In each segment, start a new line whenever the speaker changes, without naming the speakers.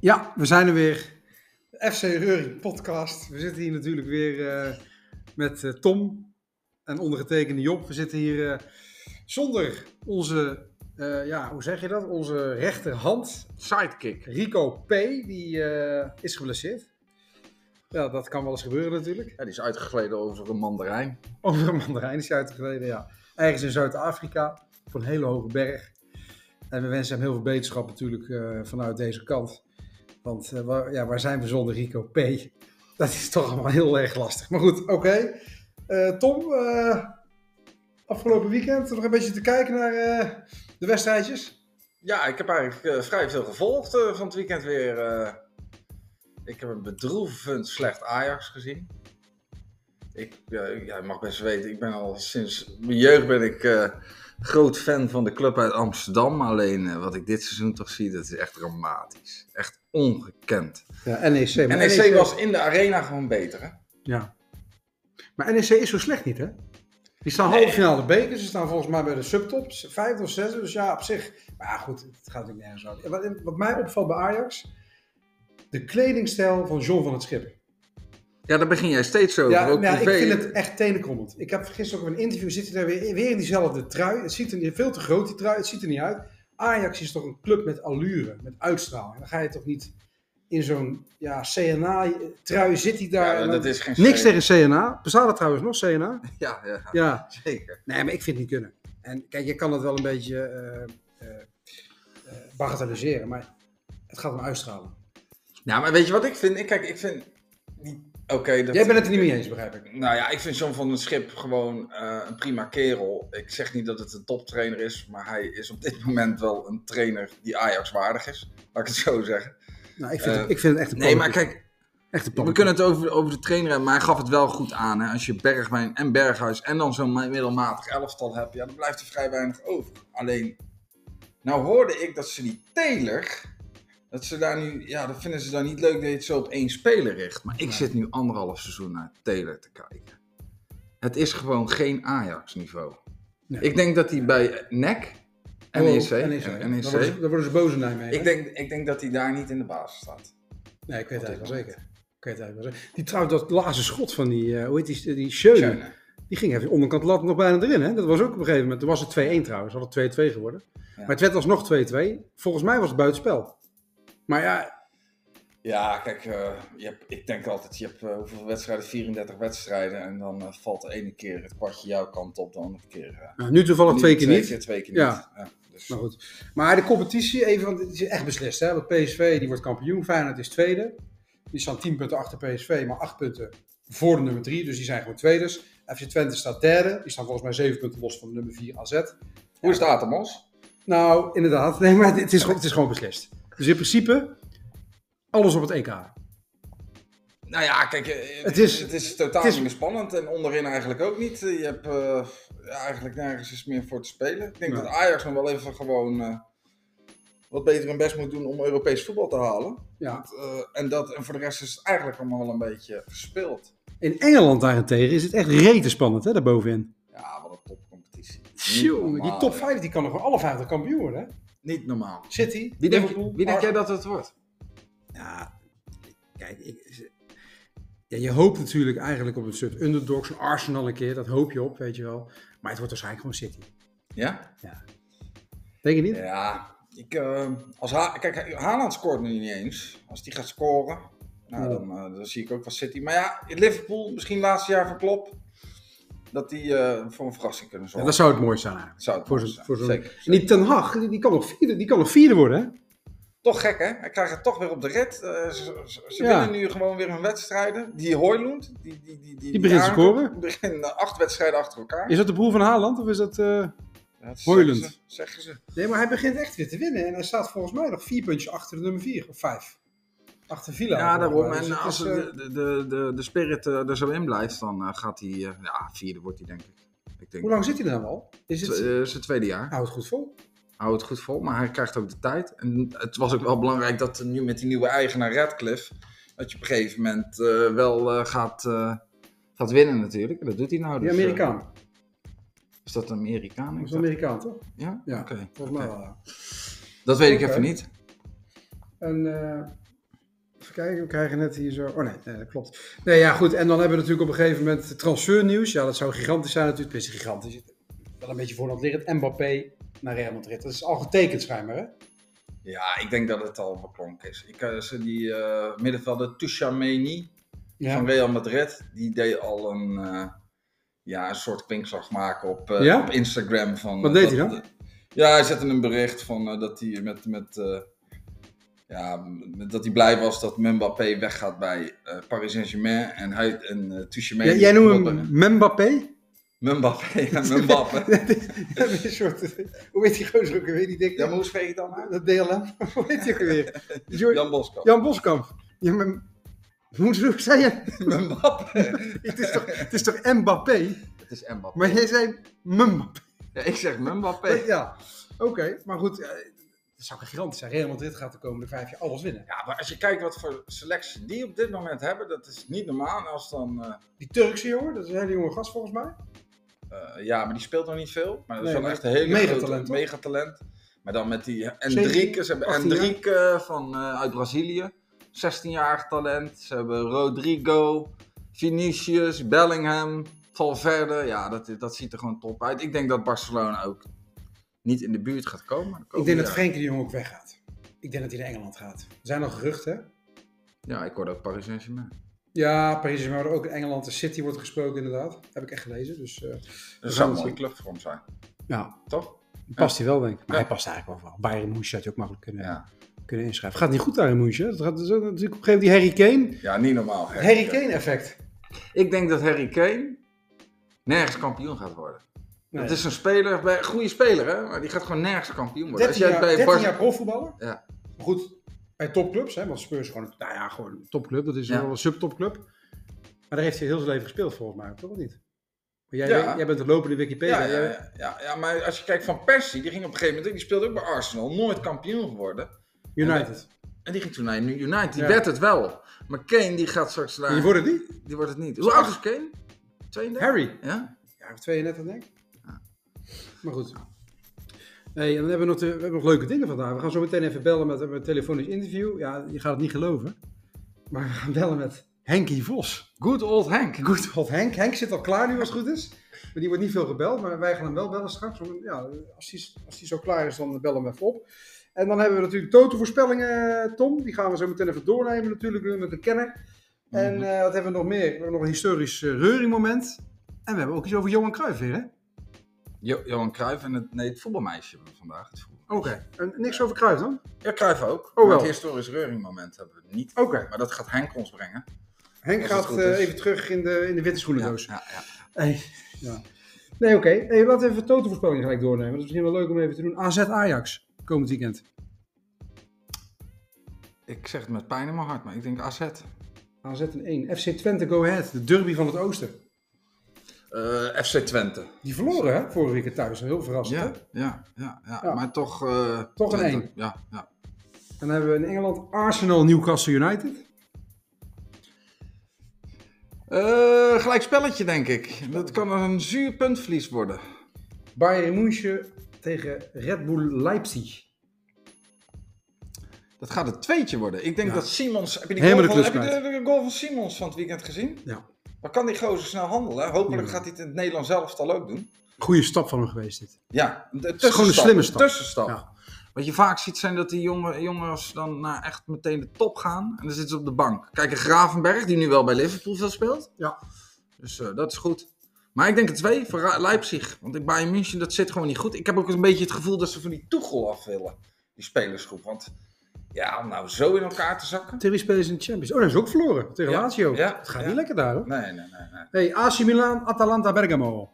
Ja, we zijn er weer. De FC Reuring podcast. We zitten hier natuurlijk weer eh, met eh, Tom en ondergetekende Job. We zitten hier eh, zonder onze, eh, ja, hoe zeg je dat? Onze rechterhand,
Sidekick.
Rico P. Die eh, is geblesseerd. Ja, dat kan wel eens gebeuren natuurlijk.
Ja, die is uitgegleden over een mandarijn.
Over een mandarijn is hij uitgereden, ja. Ergens in Zuid-Afrika, op een hele hoge berg. En we wensen hem heel veel beterschap natuurlijk eh, vanuit deze kant. Want eh, waar, ja, waar zijn we zonder Rico P? Dat is toch allemaal heel erg lastig. Maar goed, oké. Eh, Tom, eh, afgelopen weekend nog een beetje te kijken naar eh, de wedstrijdjes.
Ja, ik heb eigenlijk eh, vrij veel gevolgd eh, van het weekend weer. eh. ik heb een bedroevend slecht Ajax gezien. Ik, ja, ja, je mag best weten, ik ben al sinds mijn jeugd ben ik eh, groot fan van de club uit Amsterdam. Alleen eh, wat ik dit seizoen toch zie, dat is echt dramatisch. Echt ongekend.
Ja, NEC.
En eh, NEC was in de arena gewoon beter, hè?
Ja. Maar NEC is zo slecht niet, hè? Die staan halve finale bekers, ze staan volgens mij bij de subtops, vijfde of zesde, dus ja, op zich. Maar ja, goed, het gaat natuurlijk nergens over. Wat, wat mij opvalt bij Ajax, de kledingstijl van John van het Schip.
Ja, daar begin jij steeds over.
Ja,
ook
nou, ik
privé.
vind het echt tenenkrommend. Ik heb gisteren ook in een interview zitten daar weer, weer in diezelfde trui. Het ziet er niet- veel te groot, die trui, het ziet er niet uit. Ajax is toch een club met allure, met uitstraling. Dan ga je toch niet in zo'n ja, CNA-trui zit hij daar.
Ja,
en dan-
dat is geen
Niks
steek.
tegen CNA. Bestaat er trouwens nog, CNA?
Ja, ja,
Ja.
zeker.
Nee, maar ik vind het niet kunnen. En kijk, je kan dat wel een beetje eh, eh, eh, bagatelliseren, maar het gaat om uitstraling.
Nou, maar weet je wat ik vind? Ik, kijk, ik vind... die- Oké, dat...
Jij bent het er niet mee eens, begrijp ik.
Nou ja, ik vind John van den Schip gewoon eh, een prima kerel. Ik zeg niet dat het een toptrainer is, maar hij is op dit moment wel een trainer die Ajax waardig is. Laat ik het zo zeggen.
Nou, ik vind,
Eh,
het, Oh, ik vind het echt een
Nee, maar
pannenkoek.
kijk,
echt een
we
pannenkoek.
kunnen het over, over de trainer hebben, maar hij gaf het wel goed aan. Hè? Als je Bergwijn en Berghuis en dan zo'n middelmatig elftal hebt, ja, dan blijft er vrij weinig over. Alleen, nou hoorde ik dat ze die Taylor, dat ze daar nu, ja, dat vinden ze dan niet leuk dat je het zo op één speler richt. Maar ik
Nee.
zit nu anderhalf seizoen naar Taylor te kijken. Het is gewoon geen Ajax-niveau.
Nee.
Ik denk dat hij bij E NEC,
Oh,
NEC,
NEC.
en-
Dan, worden ze,
NEC
dan worden ze boos in Nijmegen.
E ik denk, ik denk dat hij daar niet in de basis staat.
nee, ik weet het
Op dit
eigenlijk wel
moment.
zeker. Ik weet het eigenlijk wel zeker. Die trouwens, dat laatste schot van die, eh, hoe heet die, die Schöne,
Schöne.
die ging even onderkant lat nog bijna erin. Hè? Dat was ook op een gegeven moment. Toen was het 2-1 trouwens, had het 2-2 geworden. Maar het werd alsnog 2-2. Volgens mij was het buitenspel. Maar ja,
Ja, kijk, eh, je hebt, ik denk altijd, je hebt eh, hoeveel wedstrijden? 34 wedstrijden. En dan eh, valt de ene keer het kwartje jouw kant op, de andere keer... eh,
nou, nu toevallig twee keer niet.
Twee keer, twee keer
Ja.
niet. Ja, dus.
Maar goed. Maar de competitie, even, want het is echt beslist. Hè? Want PSV die wordt kampioen, Feyenoord is tweede. Die staan 10 punten achter PSV, maar 8 punten voor de nummer 3. Dus die zijn gewoon tweeders. FC Twente staat derde. Die staan volgens mij 7 punten los van de nummer 4 AZ.
Hoe is het Atomos?
Nou, inderdaad. Nee, maar het is, gewoon- het is gewoon beslist. Dus in principe, alles op het EK.
Nou ja, kijk, eh,
Het is-
het is totaal
het is-
niet meer spannend. En onderin eigenlijk ook niet. Eh, Je hebt eh, ja, eigenlijk nergens is meer voor te spelen. Ik denk
Nee.
dat Ajax nog wel even gewoon eh, wat beter hun best moet doen om Europees voetbal te halen.
Ja.
Eh, en, dat, en voor de rest is het eigenlijk allemaal wel een beetje verspeeld.
In Engeland daarentegen is het echt rete spannend, hè, daarbovenin.
Ja, wat een topcompetitie. Niet
Tjonge, die
normaal,
top
ja.
5 die kan nog wel alle 50 kampioen worden. Hè?
Niet normaal.
City,
Wie denk,
Liverpool,
wie denk jij
Arsenal.
dat het wordt?
Ja, kijk, ik, ja, je hoopt natuurlijk eigenlijk op een soort underdogs, een Arsenal een keer, dat hoop je op, weet je wel. Maar het wordt waarschijnlijk gewoon City.
Ja?
Denk je niet?
Ja. Ik, eh, als ha Kijk, Haaland scoort nu niet eens. Als die gaat scoren, nou,
Ja.
dan, eh, dan zie ik ook wel City. Maar ja, Liverpool, misschien laatste jaar van Klopp, dat die eh, voor een verrassing kunnen
Ja,
zorgen.
dat zou het mooi zijn eigenlijk.
zou het
Voor
mooi
zo'n-
zijn.
voor zo'n-
Zeker,
En die Ten Hag, die, die kan nog vierde, die kan nog vierde worden, hè?
Toch gek, hè? Hij krijgt het toch weer op de red. Eh, ze ze- ze
Ja.
winnen nu gewoon weer hun wedstrijden. Die Hoylund, die, die, die, die,
Die begint te
aankoop,
scoren.
begint eh, acht wedstrijden achter elkaar.
Is dat de broer van Haaland of is dat... eh,
Dat zeggen
Hoylund.
ze, Zeggen ze.
Nee, maar hij begint echt weer te winnen. En hij staat volgens mij nog vier puntjes achter de nummer vier. Of vijf. Achter Villa.
Ja, daarom.
Dus het
En als
is, eh,
de, de, de, de, de spirit eh, er zo in blijft, dan eh, gaat hij... eh, ja, vierde wordt hij, denk ik. Ik denk...
Hoe lang zit hij er nou al? Is het...
Het is zijn tweede jaar.
Houdt het goed vol.
Houdt het goed vol, maar hij krijgt ook de tijd. En het was ook wel belangrijk dat er nu met die nieuwe eigenaar Radcliffe... dat je op een gegeven moment eh, wel eh, gaat, eh, gaat winnen natuurlijk. En dat doet hij nou.
Die
Dus, eh,
Amerikaan.
is dat een Amerikaan?
Dat
Ik
is een
dacht-
Amerikaan, toch?
Ja?
Ja,
Oké.
volgens mij
Oké.
wel. ja.
Dat weet ik
Oké.
even niet.
En eh, Even kijken, we krijgen net hier zo. Oh nee, nee, dat klopt. Nee, ja, goed. En dan hebben we natuurlijk op een gegeven moment transfernieuws. Ja, dat zou gigantisch zijn natuurlijk. Het is gigantisch. Wel een beetje voorhand liggend. Mbappé naar Real Madrid. Dat is al getekend schijnbaar, hè?
Ja, ik denk dat het al beklonken is. Ik, eh, ze die eh, middenvelder Tushameni van Real Madrid, die deed al een, eh, ja, een soort kwinkslag maken op, eh,
Ja?
op Instagram. Van, eh,
Wat deed hij
dat-
dan?
ja, hij zette een bericht van eh, dat hij met, met, eh, ja, met- dat hij blij was dat Mbappé weggaat bij eh, Paris Saint-Germain en hij en eh, Tchouaméni-
Jij- jij noemt hem Mbappé?
Mbappé, ja, Mbappé.
Dat is een soort, hoe heet die gozer ook weer? Die denkt,
Ja, maar hoe spreek je dan uit?
dat DLM, hoe heet die ook weer? Jo-
Jan Boskamp.
Jan Boskamp. Ja, maar, hoe hoe zei je?
Mbappé.
Het is, toch, het is toch Mbappé?
Het is Mbappé.
Maar jij zei Mbappé.
Ja, ik zeg Mbappé.
Ja, oké. Maar goed, eh, dat zou gigantisch zijn. Real Madrid gaat de komende vijf jaar alles winnen.
Ja, maar als je kijkt wat voor selectie die op dit moment hebben, dat is niet normaal. En Als dan, eh,
Die Turkse jongen, dat is een hele jonge gast volgens mij.
eh, ja, maar die speelt nog niet veel. Maar dat
Nee,
is wel
maar
echt een hele
megatalent,
grote-
toch?
megatalent. Maar dan met die
Zeven,
Endriek. Ze hebben
18 jaar.
Endriek eh, van, eh, uit Brazilië. 16-jarig talent. Ze hebben Rodrigo, Vinicius, Bellingham, Valverde. Ja, dat, dat ziet er gewoon top uit. Ik denk dat Barcelona ook niet in de buurt gaat komen.
Ik denk dat Frenkie de Jong ook weggaat. Ik denk dat hij naar Engeland gaat. Er zijn al geruchten, hè?
Ja, ik hoorde ook Paris Saint-Germain.
Ja, Paris is maar ook in Engeland. De City wordt gesproken inderdaad. Heb ik echt gelezen. Dus, eh,
Dat zou een mooie club voor hem zijn,
Ja,
toch?
past hij wel, denk ik. Maar
Ja.
hij past eigenlijk wel. wel. Bayern München had je ook makkelijk kunnen,
Ja,
kunnen inschrijven. Gaat niet goed daar in München. Dat gaat dus ook natuurlijk op een gegeven moment die Harry Kane.
ja niet normaal. Harry
Harry Kane effect.
Ik denk dat Harry Kane nergens kampioen gaat worden.
Nee.
Het is een speler, bij- een goede speler, hè? maar die gaat gewoon nergens kampioen worden.
13
Als jij
jaar,
bij
13
Bar-
jaar profvoetballer.
Ja.
Maar goed, bij topclubs, hè, want Spurs is gewoon, nou ja, gewoon een topclub. Dat is
Ja.
wel een subtopclub. Maar daar heeft hij heel zijn leven gespeeld volgens mij, toch of niet? Maar jij,
Ja.
weet- jij bent de lopende Wikipedia.
ja, ja,
Jij-
ja, ja, ja, maar als je kijkt van Persie, die ging op een gegeven moment, die speelde ook bij Arsenal, nooit kampioen geworden.
United.
En die ging toen naar United, die
Ja.
werd het wel. Maar Kane, die gaat straks naar,
Je wordt het niet?
die wordt het niet. Hoe oud is Kane? 32?
Harry.
Ja?
Ja, 32 denk ik. Maar goed. Hey, en dan hebben we, nog de- we hebben nog leuke dingen vandaag. We gaan zo meteen even bellen met met een telefonisch interview. Ja, je gaat het niet geloven. Maar we gaan bellen met Henkie Vos.
Good old Henk.
Goed, wat Henk. Henk zit al klaar nu als het goed is. Maar die wordt niet veel gebeld, maar wij gaan hem wel bellen straks. Want, Ja, als hij als die zo klaar is, dan bellen we hem even op. En dan hebben we natuurlijk Toto-voorspellingen, Tom. Die gaan we zo meteen even doornemen natuurlijk nu met een kenner. En
Mhm.
eh, wat hebben we nog meer? We hebben nog een historisch eh, reuringmoment. En we hebben ook iets over Johan Cruijff weer, hè?
Jo- Johan Cruijff en het, nee, het voetbalmeisje hebben we vandaag. Het voetbal.
Oké, en niks over Cruijff dan?
Ja, Cruijff ook.
Oh, wel.
Maar Het historisch reuringmoment hebben we niet.
Oké.
Maar dat gaat Henk ons brengen.
Henk
Als het
gaat
goed
eh,
is.
even terug in de, in de witte
ja,
schoenendoos.
ja. ja.
Hey, ja. Nee, oké. Hey, laten we even Toto voorspelling gelijk doornemen. Dat is misschien wel leuk om even te doen. AZ Ajax, komend weekend.
Ik zeg het met pijn in mijn hart, maar ik denk AZ.
AZ een 1. FC Twente Go Ahead, de derby van het oosten.
Eh, FC Twente.
Die verloren hè, vorige week thuis. Heel verrassend hè?
Ja, ja, ja, ja,
Ja.
Maar toch... eh,
Toch een
Twente.
één.
Ja, ja.
En dan hebben we in Engeland Arsenal Newcastle United.
Eh, gelijk spelletje, denk ik. Dat kan een zuur puntvlies worden.
Bayern München tegen Red Bull Leipzig.
Dat gaat het tweetje worden. Ik denk
Ja.
dat Simons... Heb je, die goal
Helemaal
van,
de
heb je
klus
de, de goal van Simons van het weekend gezien?
Ja.
Maar kan die gozer snel handelen? Hopelijk
Ja.
gaat hij het in het Nederlands elftal ook doen.
Goede stap van hem geweest dit.
Ja, de
is gewoon een slimme stap.
Tussenstap.
Ja.
Wat je vaak ziet zijn dat die jonge, jongens dan naar echt meteen de top gaan. En dan zitten ze op de bank. Kijk, een Gravenberg, die nu wel bij Liverpool veel speelt.
Ja.
Dus eh, dat is goed. Maar ik denk het twee voor Ra- Leipzig. Want ik Bayern München, dat zit gewoon niet goed. Ik heb ook een beetje het gevoel dat ze van die Tuchel af willen. Die spelersgroep. Want ja, om nou zo in elkaar te zakken.
Terry spelen in de Champions. Oh, dat is ook verloren. Tegen
Ja,
Lazio.
ja,
Het gaat
ja.
niet lekker daar hoor.
Nee, nee, nee. nee.
Hey, AC Milan, Atalanta, Bergamo.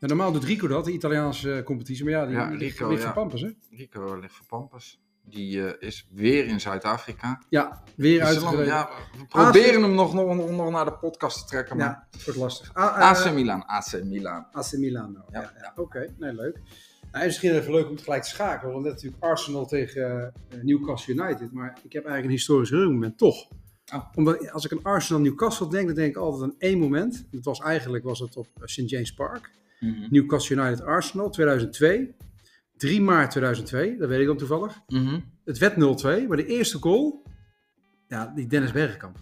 En normaal doet Rico dat, de Italiaanse eh, competitie. Maar ja, die
Ja,
ligt-
Rico,
ligt van
ja.
pampers, hè?
Rico ligt voor Pampers. Die eh, is weer in Zuid-Afrika.
Ja, weer
Dus dan-
uitgereden. Ja,
ja, we proberen hem nog, nog, nog naar de podcast te trekken. Maar
het wordt lastig. A- eh,
AC Milan, AC Milan.
AC Milan. nou. Ja,
Ja,
ja, Oké, nee, leuk. Nou, en misschien even leuk om het gelijk te schakelen. Want net natuurlijk Arsenal tegen eh, Newcastle United. Maar ik heb eigenlijk een historisch moment toch.
Oh.
Omdat als ik aan Arsenal-Newcastle denk, dan denk ik altijd aan één moment. Dat was eigenlijk was het op eh, St. James Park.
Mhm.
Newcastle United-Arsenal, 2002. 3 maart 2002, dat weet ik dan toevallig.
Mhm.
Het werd 0-2, maar de eerste goal Ja, die Dennis Bergkamp.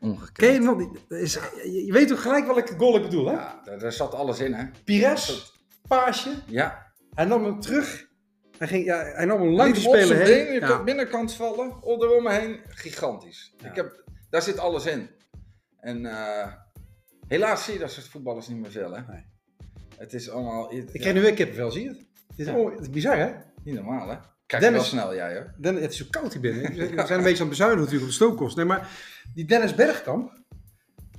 Ongekend.
Ken je hem nog niet? Dat is- je je weet toch gelijk welke goal ik bedoel, hè?
Ja, daar, daar zat alles in, hè?
Pires, paasje.
Ja.
Hij nam hem terug. Hij, ging, ja, hij nam hem
Lang
langs die speler heen.
Je
Ja.
kunt binnenkant vallen, onder om me heen, gigantisch. Ik heb, daar zit alles in. En eh, helaas zie je dat soort voetballers niet meer veel, hè?
Nee.
Het is allemaal...
Ik krijg nu weer kippenvel, zie je het? Het is,
Ja.
oh, het is bizar, hè?
Niet normaal, hè? Kijk
Dennis-
wel snel, jij, hoor.
Den- het is zo koud hier binnen. We zijn- we zijn een beetje aan het bezuinigen natuurlijk op de stookkosten. Nee, maar die Dennis Bergkamp,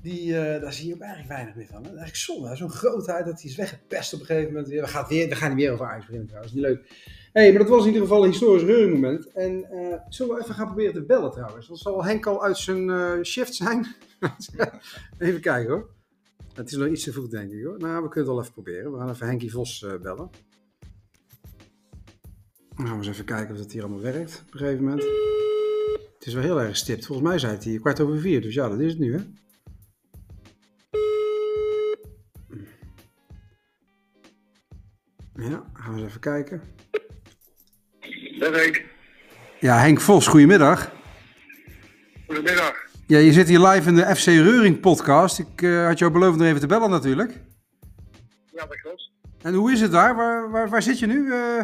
die, eh, daar zie je ook eigenlijk weinig meer van. Hè? Dat is eigenlijk zonde. hè. Zo'n grootheid dat hij is weggepest op een gegeven moment. weer. We gaan, weer, we gaan niet weer over Ajax beginnen trouwens. Niet leuk. hey, maar dat was in ieder geval een historisch reuringmoment. En eh zullen we even gaan proberen te bellen trouwens? Dat zal Henk al uit zijn eh, shift zijn. even kijken hoor. Het is nog iets te vroeg denk ik hoor. Nou, we kunnen het wel even proberen. We gaan even Henkie Vos eh, bellen. Dan gaan we eens even kijken of het hier allemaal werkt op een gegeven moment. Het is wel heel erg gestipt. Volgens mij zei het hier kwart over vier, dus ja, dat is het nu, hè? Ja, gaan we eens even kijken.
Dat ik.
Ja, Henk Vos, goedemiddag.
Goedemiddag.
Ja, je zit hier live in de FC Reuring podcast. Ik eh, had jou beloofd nog even te bellen natuurlijk.
Ja, dat klopt.
En hoe is het daar? Waar, waar, waar zit je nu? eh?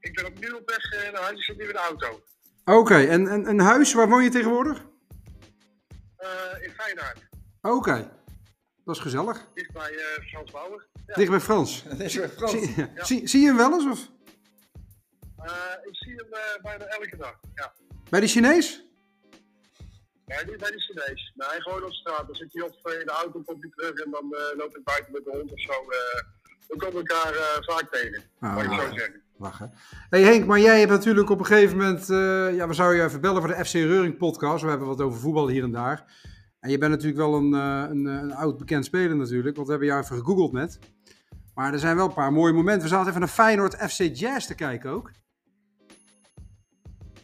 Ik ben opnieuw op weg eh, naar huis. Ik zit nu in de auto.
Oké, en, en een huis, waar woon je tegenwoordig?
Eh, in Feyenoord.
Oké, dat is gezellig.
Dicht bij eh, Frans Bauer. Ja.
Dicht bij Frans.
Dat is weer Frans.
Zie, zie, zie je hem wel eens? Of?
Eh, ik zie hem eh, bijna elke dag. Ja.
Bij de Chinees?
Maar niet bij de Chinees. Nee, gewoon op straat. Dan zit hij op eh, in de auto, komt hij terug en dan eh, loopt hij buiten met de hond of zo. eh. we komen elkaar eh, vaak tegen.
Ah,
Mag ik zo
lachen.
zeggen.
Lachen. Hey Henk, maar jij hebt natuurlijk op een gegeven moment. eh, ja, we zouden je even bellen voor de FC Reuring podcast. We hebben wat over voetbal hier en daar. En je bent natuurlijk wel een, eh, een, eh, een oud bekend speler natuurlijk. Want we hebben jou even gegoogeld net. Maar er zijn wel een paar mooie momenten. We zaten even naar Feyenoord FC Jazz te kijken ook.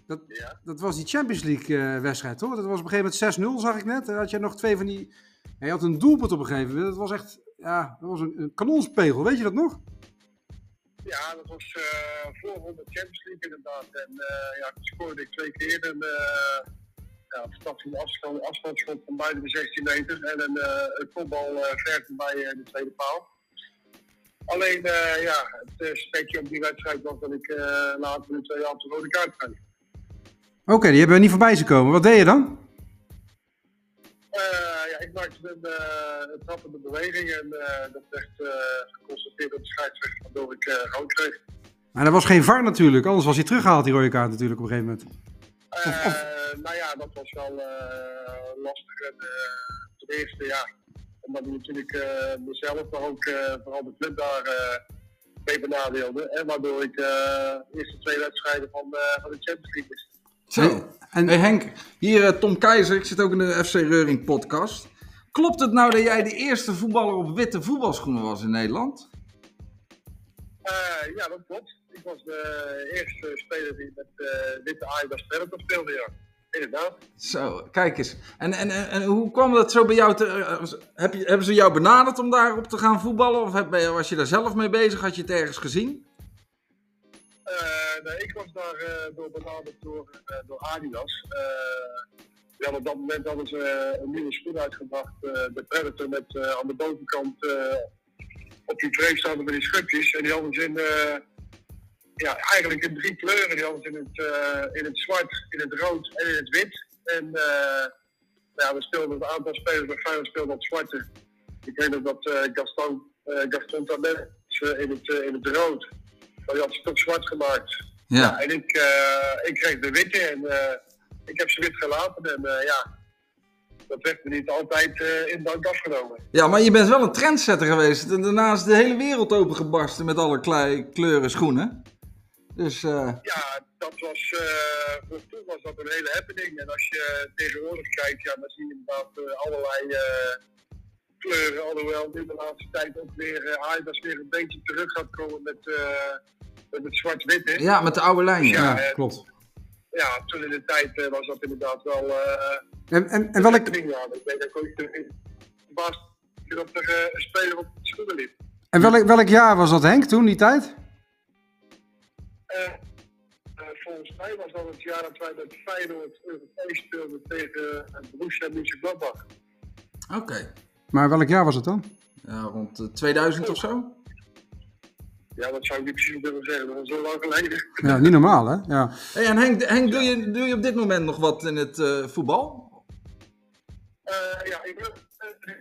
Dat,
Ja.
dat was die Champions League eh, wedstrijd, toch? Dat was op een gegeven moment 6-0, zag ik net. Daar had je nog twee van die... Ja, je had een doelpunt op een gegeven moment. Dat was echt... Ja, dat was een, een kanonspegel. Weet je dat nog?
Ja, dat was eh voorronde Champions League inderdaad. En eh, ja, toen scoorde ik twee keer een eh ja, een fantastische afstand, afstandsschot van buiten de 16 meter. En een, eh een kopbal eh, ver bij de tweede paal. Alleen eh, ja, het eh, spekje op die wedstrijd was dat ik eh later in de tweede helft een rode kaart kreeg.
Oké, die hebben we niet voorbij zien komen. Wat deed je dan?
Eh, ja, ik maakte een, eh, een trappende beweging en eh, dat werd eh, geconstateerd door de scheidsrechter waardoor ik eh rood kreeg.
Maar er was geen VAR natuurlijk, anders was hij teruggehaald, die rode kaart natuurlijk op een gegeven moment.
Eh, nou ja, dat was wel eh, lastig. En, eh, ten eerste, ja, omdat ik natuurlijk eh, mezelf, maar ook eh, vooral de club daar eh mee benadeelde. En waardoor ik eh de eerste twee wedstrijden van, eh, van de Champions League miste.
Zo.
En-
hey Henk, hier eh, Tom Keizer. Ik zit ook in de FC Reuring podcast. Klopt het nou dat jij de eerste voetballer op witte voetbalschoenen was in Nederland?
Eh, ja, dat klopt. Ik was de eerste speler die met eh witte Adidas Predator speelde, ja. Inderdaad.
Zo, kijk eens. En, en, en, en hoe kwam dat zo bij jou? Te, eh, heb je, hebben ze jou benaderd om daarop te gaan voetballen? Of heb, je- was je daar zelf mee bezig? Had je het ergens gezien?
Eh, nee, ik was daar eh, door benaderd door, eh, door Adidas. Eh ja, op dat moment hadden ze eh, een nieuwe schoen uitgebracht. eh, de Predator met eh, aan de bovenkant eh, op die treef staan met die schutjes. En die hadden ze in, eh, ja, eigenlijk in drie kleuren. Die hadden ze in het, eh, in het zwart, in het rood en in het wit. En eh, ja, we speelden een aantal spelers bij Feyenoord speelden op zwarte. Ik weet nog dat eh, Gaston, eh Gaston Tabet in, het, eh, in het rood. Maar Oh, die had ze toch zwart gemaakt.
Ja.
En ik, eh, ik kreeg de witte en eh, ik heb ze wit gelaten. En eh, ja, dat werd me niet altijd eh, in dank afgenomen.
ja, maar je bent wel een trendsetter geweest. En daarna is de hele wereld opengebarsten met alle klei- kleuren schoenen. Dus eh,
Ja, dat was, eh, voor toen was dat een hele happening. En als je tegenwoordig kijkt, ja, dan zie je inderdaad eh, allerlei eh, kleuren. Alhoewel nu de laatste tijd ook weer eh Adidas weer een beetje terug gaat komen met, eh, met het zwart-witte.
ja, met de oude lijn. ja.
Ja, eh,
klopt.
Ja, toen in de tijd eh, was dat inderdaad wel... eh,
En, en, en welk,
happening, ja. Ik weet ook niet, eh, verbaasd dat er eh, een speler op de schoenen liep.
en welk, welk jaar was dat, Henk, toen, die tijd?
Eh, eh, volgens volgens mij was dat het jaar dat wij met Feyenoord Europees speelden tegen eh, Borussia Mönchengladbach.
Oké.
Maar welk jaar was het dan?
Ja, rond eh, 2000 of zo?
Ja, dat zou ik niet precies willen zeggen, dat was zo lang geleden.
Ja, niet normaal hè? Ja.
Hey, en Henk, Henk doe, je, doe je op dit moment nog wat in het eh, voetbal?
Eh, ja, ik ben eh,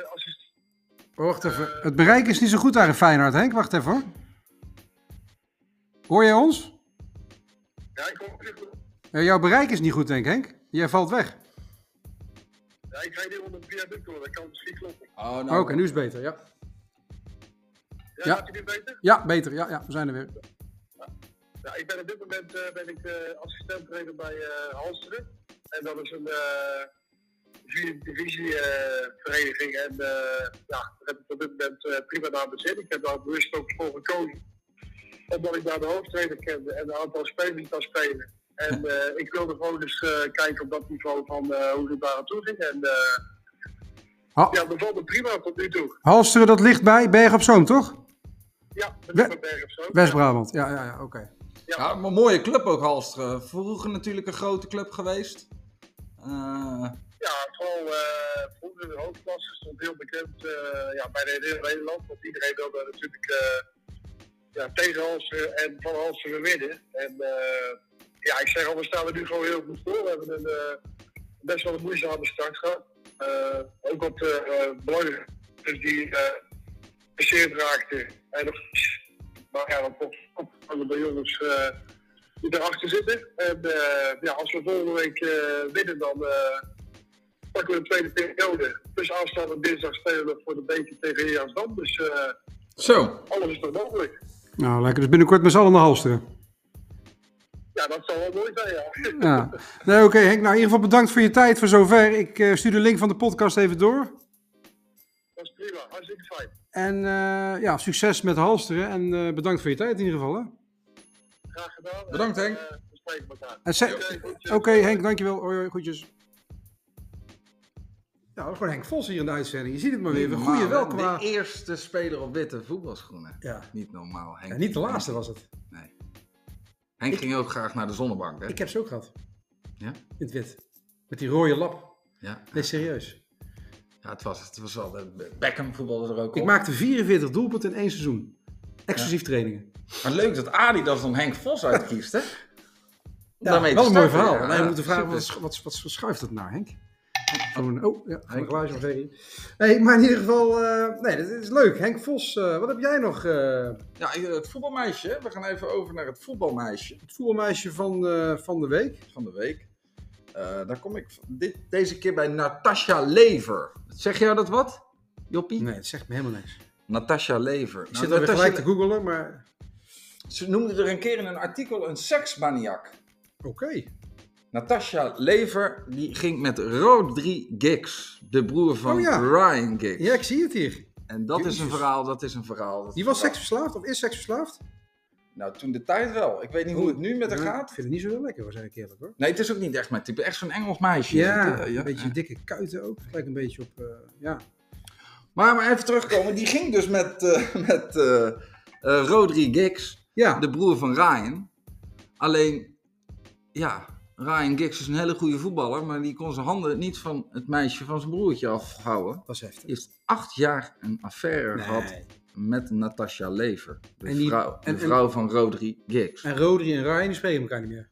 eh, assistent.
Wacht even. Het bereik is niet zo goed daar in Feyenoord, Henk. Wacht even hoor. Hoor jij ons?
Ja, ik kom terug.
Ja, jouw bereik is niet goed, denk ik, Henk. Jij valt weg.
Ja, ik rijd hier onder het viaduct door, dat kan misschien kloppen.
Oh,
Oké, Nou, nu is het beter, ja.
Ja,
Ja.
gaat het nu beter?
Ja, beter. Ja, ja, we zijn er weer.
Ja, Nou, ik ben op dit moment eh, ben ik eh assistent trainer bij eh Halsteren. En dat is een eh vierde divisievereniging. en eh, ja, daar heb ik op dit moment eh, prima naar mijn zin. Ik heb daar bewust ook voor gekozen. Omdat ik daar de hoofdtrainer kende en een aantal spelers die daar spelen. En eh, ik wilde gewoon eens eh, kijken op dat niveau van eh, hoe het daar aan toe ging. En eh
Ha-
ja, bevalt me prima tot nu toe.
Halsteren, dat ligt bij Berg op Zoom, toch?
Ja, met
We-
de Berg of zo.
West-Brabant. Ja, ja, ja, oké.
Ja, maar mooie club ook, Halsteren. Vroeger natuurlijk een grote club geweest. Eh,
Ja, vooral eh, vroeger in de hoofdklasse stond heel bekend eh, ja, bij de hele Nederland. Want iedereen wilde natuurlijk eh, ja, tegen Halsen en van Halsen winnen. En eh, ja, ik zeg al, we staan er nu gewoon heel goed voor. We hebben een, eh, best wel een moeizame start gehad. Eh, ook wat eh, eh, belangrijke dus die eh, geblesseerd raakten. En nog, maar ja, dan toch opgevangen bij jongens eh, die erachter zitten. En eh, ja, als we volgende week eh, winnen, dan... eh, pakken we de tweede periode. Dus aanstaande dinsdag spelen we voor de beker tegen Heerenveen. Dus eh,
Zo.
alles is nog mogelijk.
Nou, lekker. Dus binnenkort met z'n allen naar Halsteren.
Ja, dat zal wel mooi zijn, ja.
Ja. Nee, oké, Henk. Nou, in ieder geval bedankt voor je tijd voor zover. Ik eh, stuur de link van de podcast even door.
dat is prima, hartstikke fijn.
En eh, ja, succes met Halsteren. En eh, bedankt voor je tijd in ieder geval. Hè?
Graag gedaan.
Bedankt,
En,
Henk.
eh, we spreken elkaar.
En ze-
Oké, goed.
Oké, Henk, dankjewel. Hoi, hoi, groetjes. Nou, gewoon Henk Vos hier in de uitzending. Je ziet het maar weer. We groeien wel qua...
De e- eerste speler op witte voetbalschoenen.
Ja.
Niet normaal, Henk.
En niet de laatste was het.
Nee. Henk ging ook graag naar de zonnebank, hè?
Ik heb ze ook gehad,
Ja?
in het wit. Met die rode lap.
Ja.
Nee, serieus.
ja het, was, het was wel... de- Beckham voetbalde er ook op.
Ik maakte 44 doelpunten in één seizoen. Exclusief trainingen.
Maar leuk dat Adidas dan Henk Vos uitkiest, hè? Om
Ja,
daarmee te
wel een mooi
starten.
verhaal. Alleen we moeten vragen,
super.
wat, wat, wat, wat schuift dat nou, Henk? Gewoon, oh, ja, van een glaasje van Ferry. Hey, maar in ieder geval, eh, nee, dat is leuk. Henk Vos, eh, wat heb jij nog? eh,
Ja, het voetbalmeisje. hè? We gaan even over naar het voetbalmeisje.
het voermeisje van, eh, van de week.
van de week. Eh, daar kom ik v- dit, deze keer bij Natasha Lever. Zeg jou dat wat, Joppie?
Nee, het zegt me helemaal niks.
Natasha Lever.
Ik zit
Nou,
alweer
Natasha
gelijk te
Le-
googelen, maar
Ze noemde er een keer in een artikel een seksmaniak.
oké.
Natasha Lever die ging met Rodri Giggs, de broer van
Oh ja.
Ryan Giggs.
Ja, ik zie het hier.
En dat is een
Jezus.
verhaal, dat is een verhaal. dat
Die
is
was
een verhaal.
seksverslaafd of is seksverslaafd?
Nou, toen de tijd wel. Ik weet niet hoe het nu met haar
Ja,
gaat.
Ik vind het niet zo heel lekker, was ik eerlijk hoor.
Nee, het is ook niet echt mijn type. Echt zo'n Engels meisje.
Ja,
Dat, eh,
een beetje dikke kuiten ook. Het lijkt een beetje op, eh, ja.
Maar, maar even terugkomen, die ging dus met, eh, met eh, eh, Rodri Giggs,
Ja,
de broer van Ryan. Alleen, ja, Ryan Giggs is een hele goede voetballer, maar die kon zijn handen niet van het meisje van zijn broertje afhouden.
dat is heftig.
Die heeft acht jaar een affaire gehad
Nee.
met Natasha Lever, de,
En die-
vrouw, de
en- en-
vrouw van Rodri Giggs.
En Rodri en Ryan, die spreken elkaar niet meer.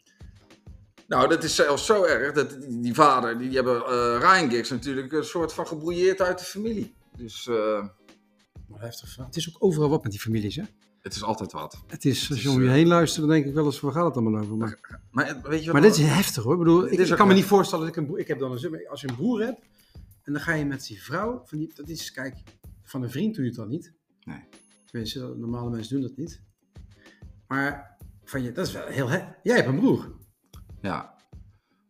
Nou, dat is zelfs zo erg dat die, die vader, die, die hebben eh, Ryan Giggs natuurlijk een soort van gebrouilleerd uit de familie. Dus eh,
Maar heftig verhaal. Het is ook overal wat met die families, hè?
het is altijd wat.
Het is, als
is,
je om je
eh,
heen luistert, dan denk ik wel eens, waar gaat het allemaal over? Maar,
Maar, eh, weet je wat
maar dit is heftig, hoor. Ik bedoel,
Dit
ik,
is
ik
ook
kan me
wel-
niet voorstellen dat ik een broer... Ik heb dan een zus, maar als je een broer hebt, en dan ga je met die vrouw... Van die, dat is, kijk, van een vriend doe je het dan niet.
Nee.
Tenminste, dat- normale mensen doen dat niet. Maar van je, dat is wel heel... He Jij hebt een broer.
Ja.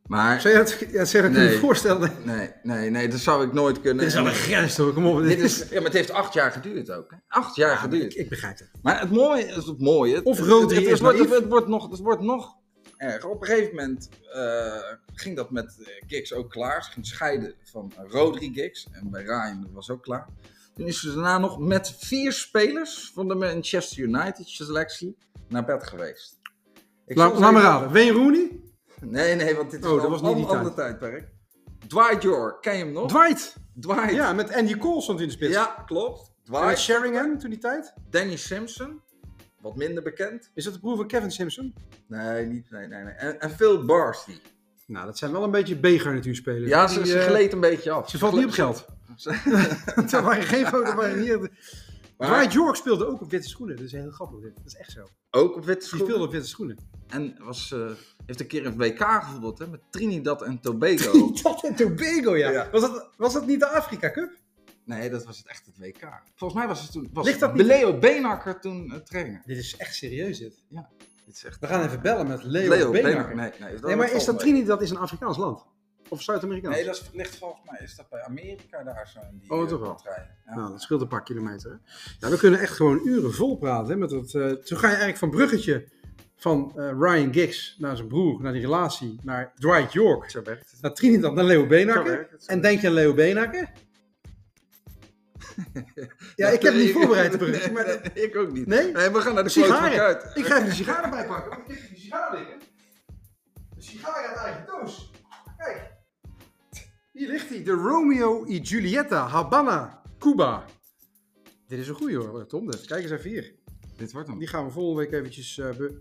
Maar,
Zou je dat, ja, zou je dat
Nee.
kunnen voorstellen?
nee, nee, nee, dat zou ik nooit kunnen.
Dit is wel een grens, hoor. Kom op.
Dit is, ja, maar het heeft acht jaar geduurd ook. Hè? Acht jaar
Ja, maar
geduurd.
ik, ik begrijp het.
Maar het mooie is het mooie. het-
Of
het-
Rodri
het,
is
het, wordt, het,
naïef.
het wordt nog, het wordt nog erger. Op een gegeven moment eh, ging dat met eh, Giggs ook klaar. Ze ging scheiden van Rodri Giggs. En bij Ryan was ook klaar. Toen is ze daarna nog met vier spelers van de Manchester United selectie naar bed geweest. Ik
Laat
zal
laat maar
zeggen-
raden. Wayne Rooney?
Nee, nee, want dit is
Oh, dat
al
was
een
niet die
ander ander tijdperk. Dwight York, ken je hem nog?
Dwight.
Dwight.
Ja, Eh, met Andy Cole stond hij in de spits.
Ja, klopt.
En met
Dwight.
Sheringham toen die tijd.
Danny Simpson. Wat minder bekend.
Is dat de broer van Kevin Simpson?
Nee, niet. Nee, nee, nee. En, en Phil Barsley.
Nou, dat zijn wel een beetje B-garnituurspelers.
Ja,
Die,
ze, ze
eh,
gleed een beetje af.
Ze valt niet op geld. dat waren geen grote... waren niet- Dwight
Maar
York speelde ook op witte schoenen. Dat is heel grappig dit. Dat is echt zo.
ook op witte
Die speelde
schoenen.
op witte schoenen.
En was, eh, heeft een keer een WK gevoetbald hè, met Trinidad en Tobago.
Trinidad en Tobago, ja.
Oh. Ja.
Was, dat, was dat niet de Afrika Cup?
nee, dat was het echt het WK. Volgens mij was het toen. Was
Ligt dat niet-
Leo Beenhakker toen eh, trainer.
Dit is echt serieus, dit.
Dit is echt-
We gaan even bellen met Leo,
Leo
Beenhakker.
Beenhakker. Nee, nee,
Nee, maar is dat
Trinidad?
Trinidad is een Afrikaans land? Of Zuid-Amerikaans?
Nee, dat is- ligt volgens mij. Is dat bij Amerika daar zo? In die,
Oh,
eh,
toch wel.
partijen. Ja.
Nou, dat scheelt een paar kilometer. hè. Ja, we kunnen echt gewoon uren vol praten. Hè, met dat, eh, toen ga je eigenlijk van bruggetje van eh, Ryan Giggs naar zijn broer, naar die relatie, naar Dwight York,
Zo werkt het.
naar Trinidad, naar Leo
Zo
Beenhakker.
werkt het, zo
En denk je aan Leo Beenhakker? ja, ik heb hem niet voorbereid, het bruggetje. Maar dat-
eh, Nee, ik ook niet.
Nee?
we gaan naar de kloot van
sigaren.
Kuit.
Ik ga even de sigaren erbij pakken. want Ik heb die sigaren liggen. De sigaar uit eigen doos. Kijk. Hier ligt hij. De Romeo y Giulietta Habana, Cuba. Dit is een goeie hoor, eh, Tom. dit. Kijk eens even hier.
Dit wordt hem.
Die gaan we volgende week eventjes eh be-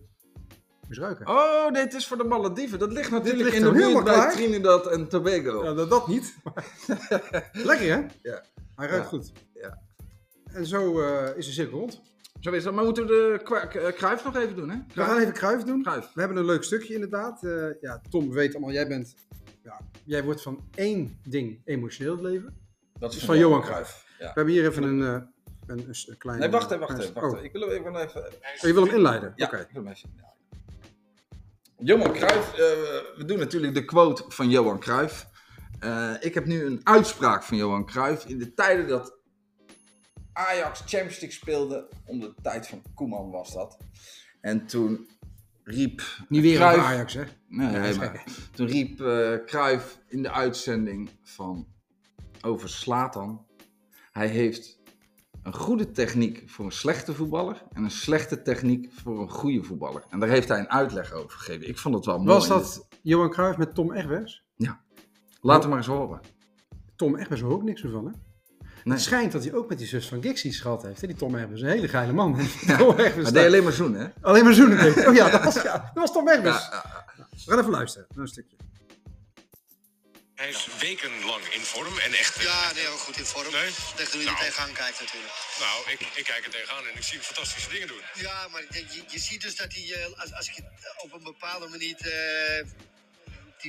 misruiken.
Oh, nee, het is voor de Malediven. Dat ligt natuurlijk
ligt
in de
hem
buurt
helemaal
bij
klaar.
Trinidad en Tobago.
Nou, dat, dat niet. Lekker hè?
Ja.
Hij ruikt
Ja.
goed.
Ja.
En zo eh, is de cirkel rond.
Zo is dat. Maar moeten we de kwa- k- eh, Kruif nog even doen, hè?
We gaan even kruif doen.
Kruif.
We hebben een leuk stukje inderdaad. Eh, ja, Tom, we weten allemaal, jij bent... Ja, jij wordt van één ding emotioneel in het leven.
Dat
Van Johan Cruijff.
Ja.
We hebben hier even een, eh een, een s- een klein...
Nee, wacht even,
een-
wacht even. Wacht
oh.
even. Ik wil hem even... even
Oh, je wil hem inleiden?
ja,
Oké.
ik wil hem even... Ja. Johan Cruijff. eh, we doen natuurlijk de quote van Johan Cruijff. Eh, ik heb nu een uitspraak van Johan Cruijff. In de tijden dat Ajax Champions League speelde, onder de tijd van Koeman was dat. En toen riep
Niet weer
Cruijff-
over Ajax, hè?
Nee,
dat is
maar toen riep eh Cruijff in de uitzending van over Slatan. Hij heeft een goede techniek voor een slechte voetballer en een slechte techniek voor een goede voetballer. En daar heeft hij een uitleg over gegeven. Ik vond het wel mooi.
Was dat Johan Cruijff met Tom Egbers?
Laat hem maar eens horen.
Tom Egbers hoor ook niks meer van, hè?
Nee.
Het schijnt dat hij ook met die zus van Giggs iets gehad heeft. Hè? Die Tom Egbers, een hele geile man. Tom Egbers,
Hij
nou,
deed alleen maar zoenen, hè?
alleen maar zoenen. denk ik. Oh ja, dat was, ja, dat was Tom Egbers.
Ja,
We gaan even luisteren naar een stukje.
Hij is wekenlang in vorm en echt.
Ja, nee, ook goed in vorm.
Nee?
Tegen hoe je
Nou.
er tegenaan kijkt natuurlijk.
Nou, ik, ik kijk er tegenaan en ik zie hem fantastische dingen doen.
Ja, maar je, je- je ziet dus dat hij, eh, als, als je het op een bepaalde manier eh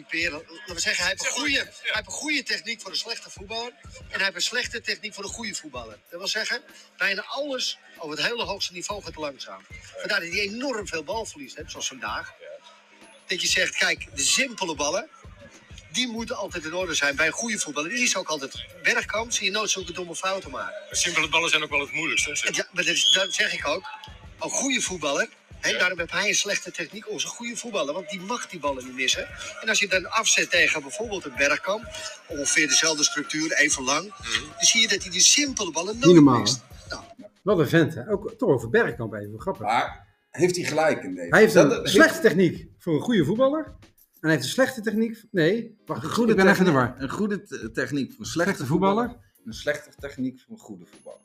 typeert... Laten we zeggen, hij heeft, een goede, hij heeft een goede techniek voor een slechte voetballer. En hij heeft een slechte techniek voor een goede voetballer. Dat wil zeggen, bijna alles op het hele hoogste niveau gaat langzaam. Vandaar dat hij enorm veel balverlies heeft, zoals vandaag. Dat je zegt, kijk, de simpele ballen... Die moeten altijd in orde zijn bij een goede voetballer. Die is ook altijd bergkamp. Zie je nooit zulke domme fouten maken.
Simpele ballen zijn ook wel het moeilijkste. hè, zeg.
Ja, maar dat, is, dat zeg ik ook. Een goede voetballer. Hè, Daarom heeft hij een slechte techniek. Onze goede voetballer. Want die mag die ballen niet missen. En als je dan afzet tegen bijvoorbeeld een Bergkamp. Ongeveer dezelfde structuur, even lang. Dan zie je dat hij die simpele ballen nooit
normaal,
mist. Nou,
Wat een vent, hè? Ook toch over Bergkamp even, grappig.
Maar heeft hij gelijk in deze?
Hij heeft
Dat-
een
dat-
slechte techniek voor een goede voetballer. En hij heeft een slechte techniek. Nee, wacht,
Een
ik- Oh,
goede
ik ben even in de
techniek-
war.
Een goede te- techniek voor een slechte,
Slechte voetballer.
voetballer. Een slechte techniek voor een goede voetballer.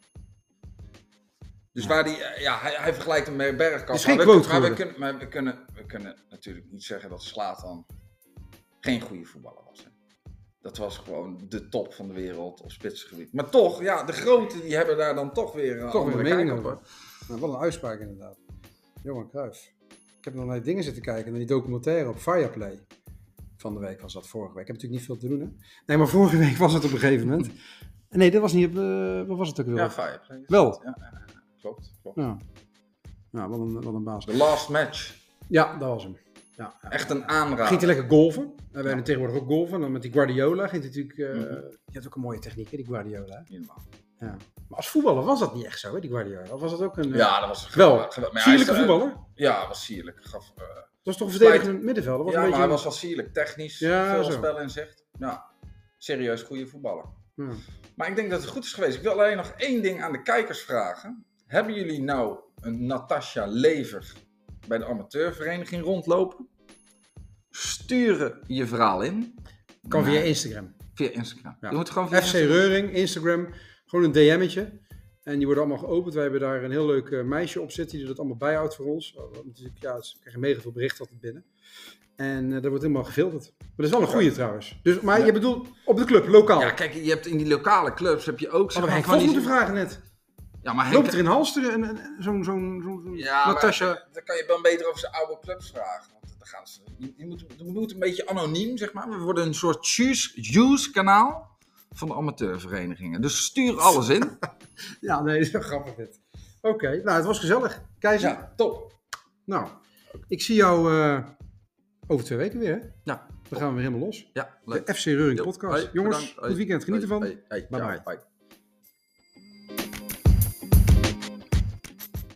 Dus waar die, eh, ja, hij, hij vergelijkt hem met Bergkamp.
Is geen
maar
quote
we, maar we,
geworden.
kunnen, maar we, kunnen, we kunnen natuurlijk niet zeggen dat Slatan geen goede voetballer was. Hè. Dat was gewoon de top van de wereld op spitsgebied. Maar toch, ja, de groten die hebben daar dan toch weer
Toch
een
weer
andere
een mening
kijk op,
over. Nou, wat een uitspraak inderdaad. Johan Cruijff. Ik heb nog naar die dingen zitten kijken, naar die documentaire op Fireplay. Van de week was dat vorige week. Ik heb natuurlijk niet veel te doen, hè? Nee, maar vorige week was het op een gegeven moment. Nee, dat was niet op... eh, wat was het ook weer?
hoor. Ja, vijf.
Wel.
Ja, ja, ja, klopt, klopt.
Ja. Ja, Nou, wat een, wat een baas.
The last match.
Ja, dat was hem. Ja, ja.
Echt een
Ging hij
aanrader.
lekker golven. En wij hebben tegenwoordig ook golven. En dan met die Guardiola ging hij natuurlijk... eh, Die had ook een mooie techniek, hè, die Guardiola. hè?
Niet normaal.
Ja. Maar als voetballer was dat niet echt zo, hè, die Guardiola. Of was dat ook een... eh,
Ja, dat was
Wel,
geweldig. Maar hij is,
sierlijke
eh,
voetballer.
Ja, was sierlijk. Gaf, eh,
Dat was toch een verdedigende middenvelder? Wat
ja,
een beetje...
maar hij was wel sierlijk. Technisch,
Ja,
veel
zo.
spel in zicht. Ja, serieus goede voetballer.
Ja.
Maar ik denk dat het goed is geweest. Ik wil alleen nog één ding aan de kijkers vragen. Hebben jullie nou een Natasha Lever bij de amateurvereniging rondlopen. Sturen je verhaal in
Kan via
Maar-
Instagram.
via Instagram.
Ja.
Je moet gewoon via
FC
Instagram.
Reuring, Instagram, gewoon een DM'tje. En die worden allemaal geopend. Wij hebben daar een heel leuk eh, meisje op zitten die dat allemaal bijhoudt voor ons. Oh, want natuurlijk, ja, ze krijgen mega veel berichten altijd binnen. En eh, dat wordt helemaal gefilterd. Maar dat is wel een goede trouwens. Dus, maar je bedoelt op de club, lokaal.
Ja, kijk, je hebt in die lokale clubs heb je ook... zeg
Hadden we Henk
maar, van
Vos
die-
moeten vragen net.
Ja, maar Henk-
Loopt er in Halsteren en, en- en zo'n zo'n zo'n zo'n
Ja, maar
Natasja?
dan kan je wel beter over zijn oude clubs vragen. Want dan gaan ze, je, je moet, je moet een beetje anoniem, zeg maar. We worden een soort juice-kanaal van de amateurverenigingen. Dus stuur alles in.
Ja, nee, dat is wel grappig dit. Oké, nou het was gezellig. Keizer,
Ja.
top. Nou, ik zie jou eh, over twee weken weer. Hè?
ja,
Dan gaan we weer helemaal los.
ja, leuk.
De FC Reuring
Yo,
podcast.
hey,
Jongens,
bedankt. Hey,
goed weekend. Geniet
hey,
ervan.
hey, hey,
Bye
ja,
bye.
bye.